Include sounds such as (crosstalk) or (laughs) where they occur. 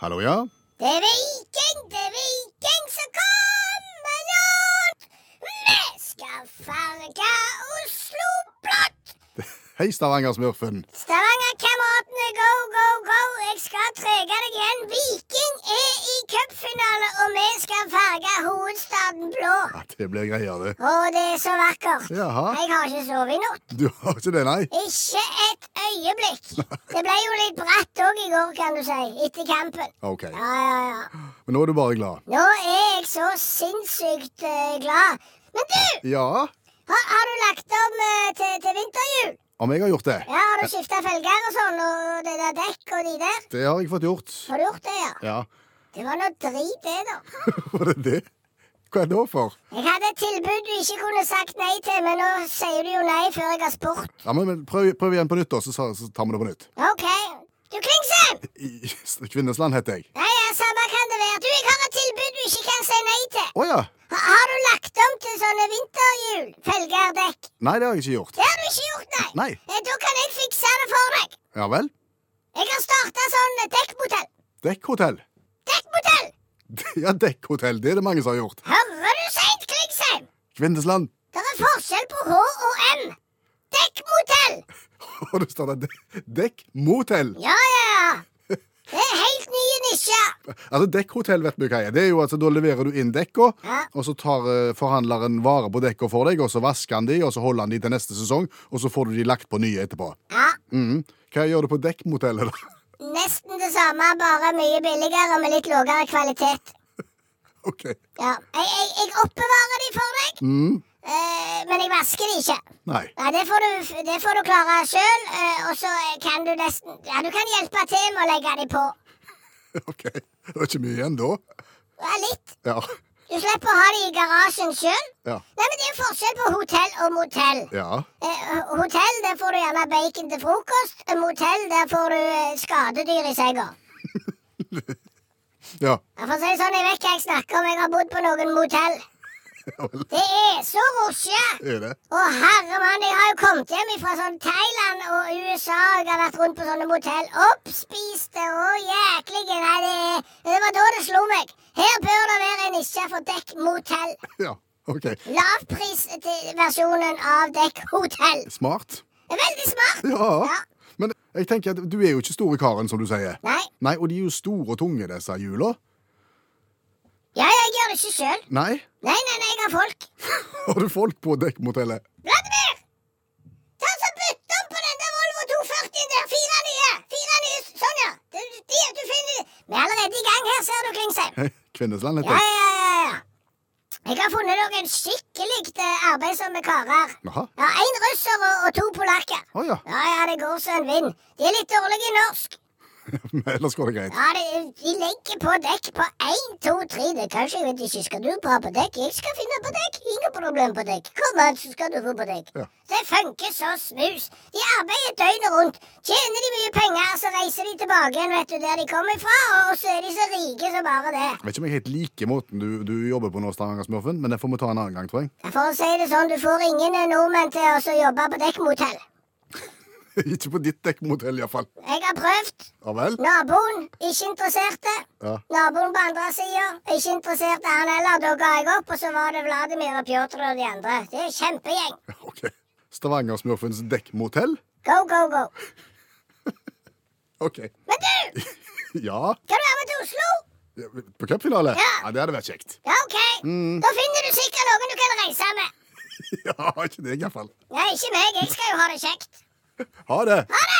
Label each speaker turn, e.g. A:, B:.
A: Hallo, ja?
B: Det er viking, det er viking som kommer rundt. Vi skal farge Oslo blått.
A: Hei, Stavanger-smurfen.
B: Stavanger-kameratene, go, go, go. Jeg skal trege deg igjen. Viking er i cupfinale, og vi skal farge hovedstaden blå.
A: Ja, det blir greier, det.
B: Å, det er så vakkert.
A: Jaha.
B: Jeg har ikke sovet i natt.
A: Du har ikke det, nei?
B: Ikke et øyeblikk. Det ble jo litt bratt òg i går, kan du si. Etter kampen.
A: OK.
B: Ja, ja, ja.
A: Men nå er du bare glad.
B: Nå er jeg så sinnssykt eh, glad. Men du,
A: Ja?
B: har, har du lagt om eh, til, til vinterhjul?
A: Om jeg har gjort det?
B: Ja, Har du skifta felger og sånn, og det der dekk og de der?
A: Det har jeg fått gjort.
B: Har du gjort det, ja?
A: Ja. (laughs)
B: Det var noe drit, det, da.
A: Var det det? Hva er det nå for?
B: Jeg hadde et tilbud du ikke kunne sagt nei til, men nå sier du jo nei før jeg har spurt.
A: Ja, men, men prøv, prøv igjen på nytt, da, så, sa- så tar vi det på nytt.
B: OK. Du, Klingsheim!
A: I Kvinnesland heter jeg.
B: Nei, ja, samme kan det være. Du, jeg har et tilbud du ikke kan si nei til.
A: Å ja.
B: Ha- Har du lagt om til sånne vinterhjul? Felger, dekk?
A: Nei, det har jeg ikke gjort.
B: Det har du ikke gjort, nei.
A: Nei.
B: Eh, Da kan jeg fikse det for deg.
A: Ja vel?
B: Jeg har starta sånn dekkmodell.
A: Dekkhotell. (laughs)
B: Dekkmodell!
A: Ja, dekkhotell. Det er det mange som har gjort.
B: Hører du seint, Klingsheim?
A: Kvinnesland. (laughs)
B: Det er forskjell på H og M. Dekkmodell!
A: Og det står der dekkmotell.
B: Ja, ja, ja. Det er helt nye nisjer.
A: Altså, dekkhotell vet du hva er. Det er jo altså, Da leverer du inn dekka,
B: Ja.
A: og så tar eh, forhandleren vare på dekka for deg, og så vasker han de, og så holder han de til neste sesong, og så får du de lagt på nye etterpå.
B: Ja,
A: Mhm. Hva gjør du på dekkmotellet, da? (laughs)
B: Nesten det samme, bare mye billigere og med litt lavere kvalitet.
A: OK.
B: Ja, Jeg, jeg, jeg oppbevarer de for deg,
A: Mhm.
B: eh, men jeg vasker de ikke.
A: Nei. (laughs)
B: Nei, det får du, det får du klare sjøl, og så kan du nesten Ja, du kan hjelpe til med å legge de på.
A: OK. Det var ikke mye igjen da.
B: Ja, litt.
A: Ja.
B: Du slipper å ha de i garasjen sjøl.
A: Ja.
B: Nei, men det er jo forskjell på hotell og motell.
A: ja.
B: Eh, ho- hotell, der får du gjerne bacon til frokost. Eh, Motell, der får du eh, skadedyr i senga.
A: Ja.
B: Ja, For å si det sånn, jeg vet hva jeg snakker om. Jeg har bodd på noen motell.
A: Ja vel.
B: Det er så rosje!
A: Er det?
B: Å, herre mann, jeg har jo kommet hjem fra sånn Thailand og USA. Jeg har vært rundt på sånne motell. Oppspiste og jæklige Nei, det, det var da det slo meg. Her bør det være en nisje for dekkmotell.
A: Ja. OK.
B: Lavprisversjonen av dekkhotell.
A: Smart.
B: Veldig smart.
A: Ja. Men jeg tenker at du er jo ikke store karen, som du sier.
B: Nei.
A: Nei, og de er jo store og tunge, disse hjula.
B: Ja, ja, jeg gjør det ikke sjøl.
A: Nei. (laughs)
B: Nei, nei, nei, jeg har folk.
A: Har du folk på dekkmotellet?
B: Vladimir! Ta så Bytt om på den der Volvo 240-en der. Fire nye. Fire nye. Sånn, ja. Du, de, du finner Vi er allerede i gang her, ser du, Klingsheim.
A: Hei, (laughs) Kvinnesland
B: Ja,
A: heter jeg.
B: ja, ja, ja. Jeg har funnet noen skikkelig eh, arbeidsomme karer.
A: Jaha.
B: Ja, Én russer og, og to polakker.
A: Å ja. (laughs)
B: Ja, ja, det går så en vind. De er litt dårlige i norsk.
A: Men ellers går det greit.
B: Ja, de, de legger på dekk på én, to, tre. Det kanskje jeg vet ikke. Skal du bra på dekk? Jeg skal finne på dekk. Ingen problem på dekk. Kom an, så skal du få på dekk.
A: Ja.
B: Det funker så smus. De arbeider døgnet rundt. Tjener de mye penger, så reiser de tilbake igjen, vet du, der de kom ifra. Og så er de så rike som bare det.
A: Jeg vet ikke om jeg helt liker måten du, du jobber på nå, Stavanger-smurfen, men det får vi ta en annen gang, tror jeg. (laughs)
B: For å si det sånn, du får ingen eh, nordmenn til å så jobbe på dekkmotell.
A: ikke på ditt dekkmotell, iallfall.
B: Jeg har prøvd.
A: Ja vel?
B: Naboen, ikke interesserte.
A: Ja.
B: Naboen på andre sida, ikke interesserte han heller. Da ga jeg opp, og så var det Vladimir og Pjotr og de andre. Det er kjempegjeng.
A: OK. Stavanger-smurfens dekkmotell?
B: Go, go, go.
A: OK.
B: Men du,
A: Ja.
B: skal du være med til Oslo?
A: På cupfinale?
B: Ja.
A: Det hadde vært kjekt. (laughs)
B: Ja, OK. Da finner du sikkert noen du kan reise med.
A: Ja, ikke deg, iallfall.
B: Nei, ikke meg. Jeg skal jo ha det kjekt.
A: Ha det.
B: Ha det!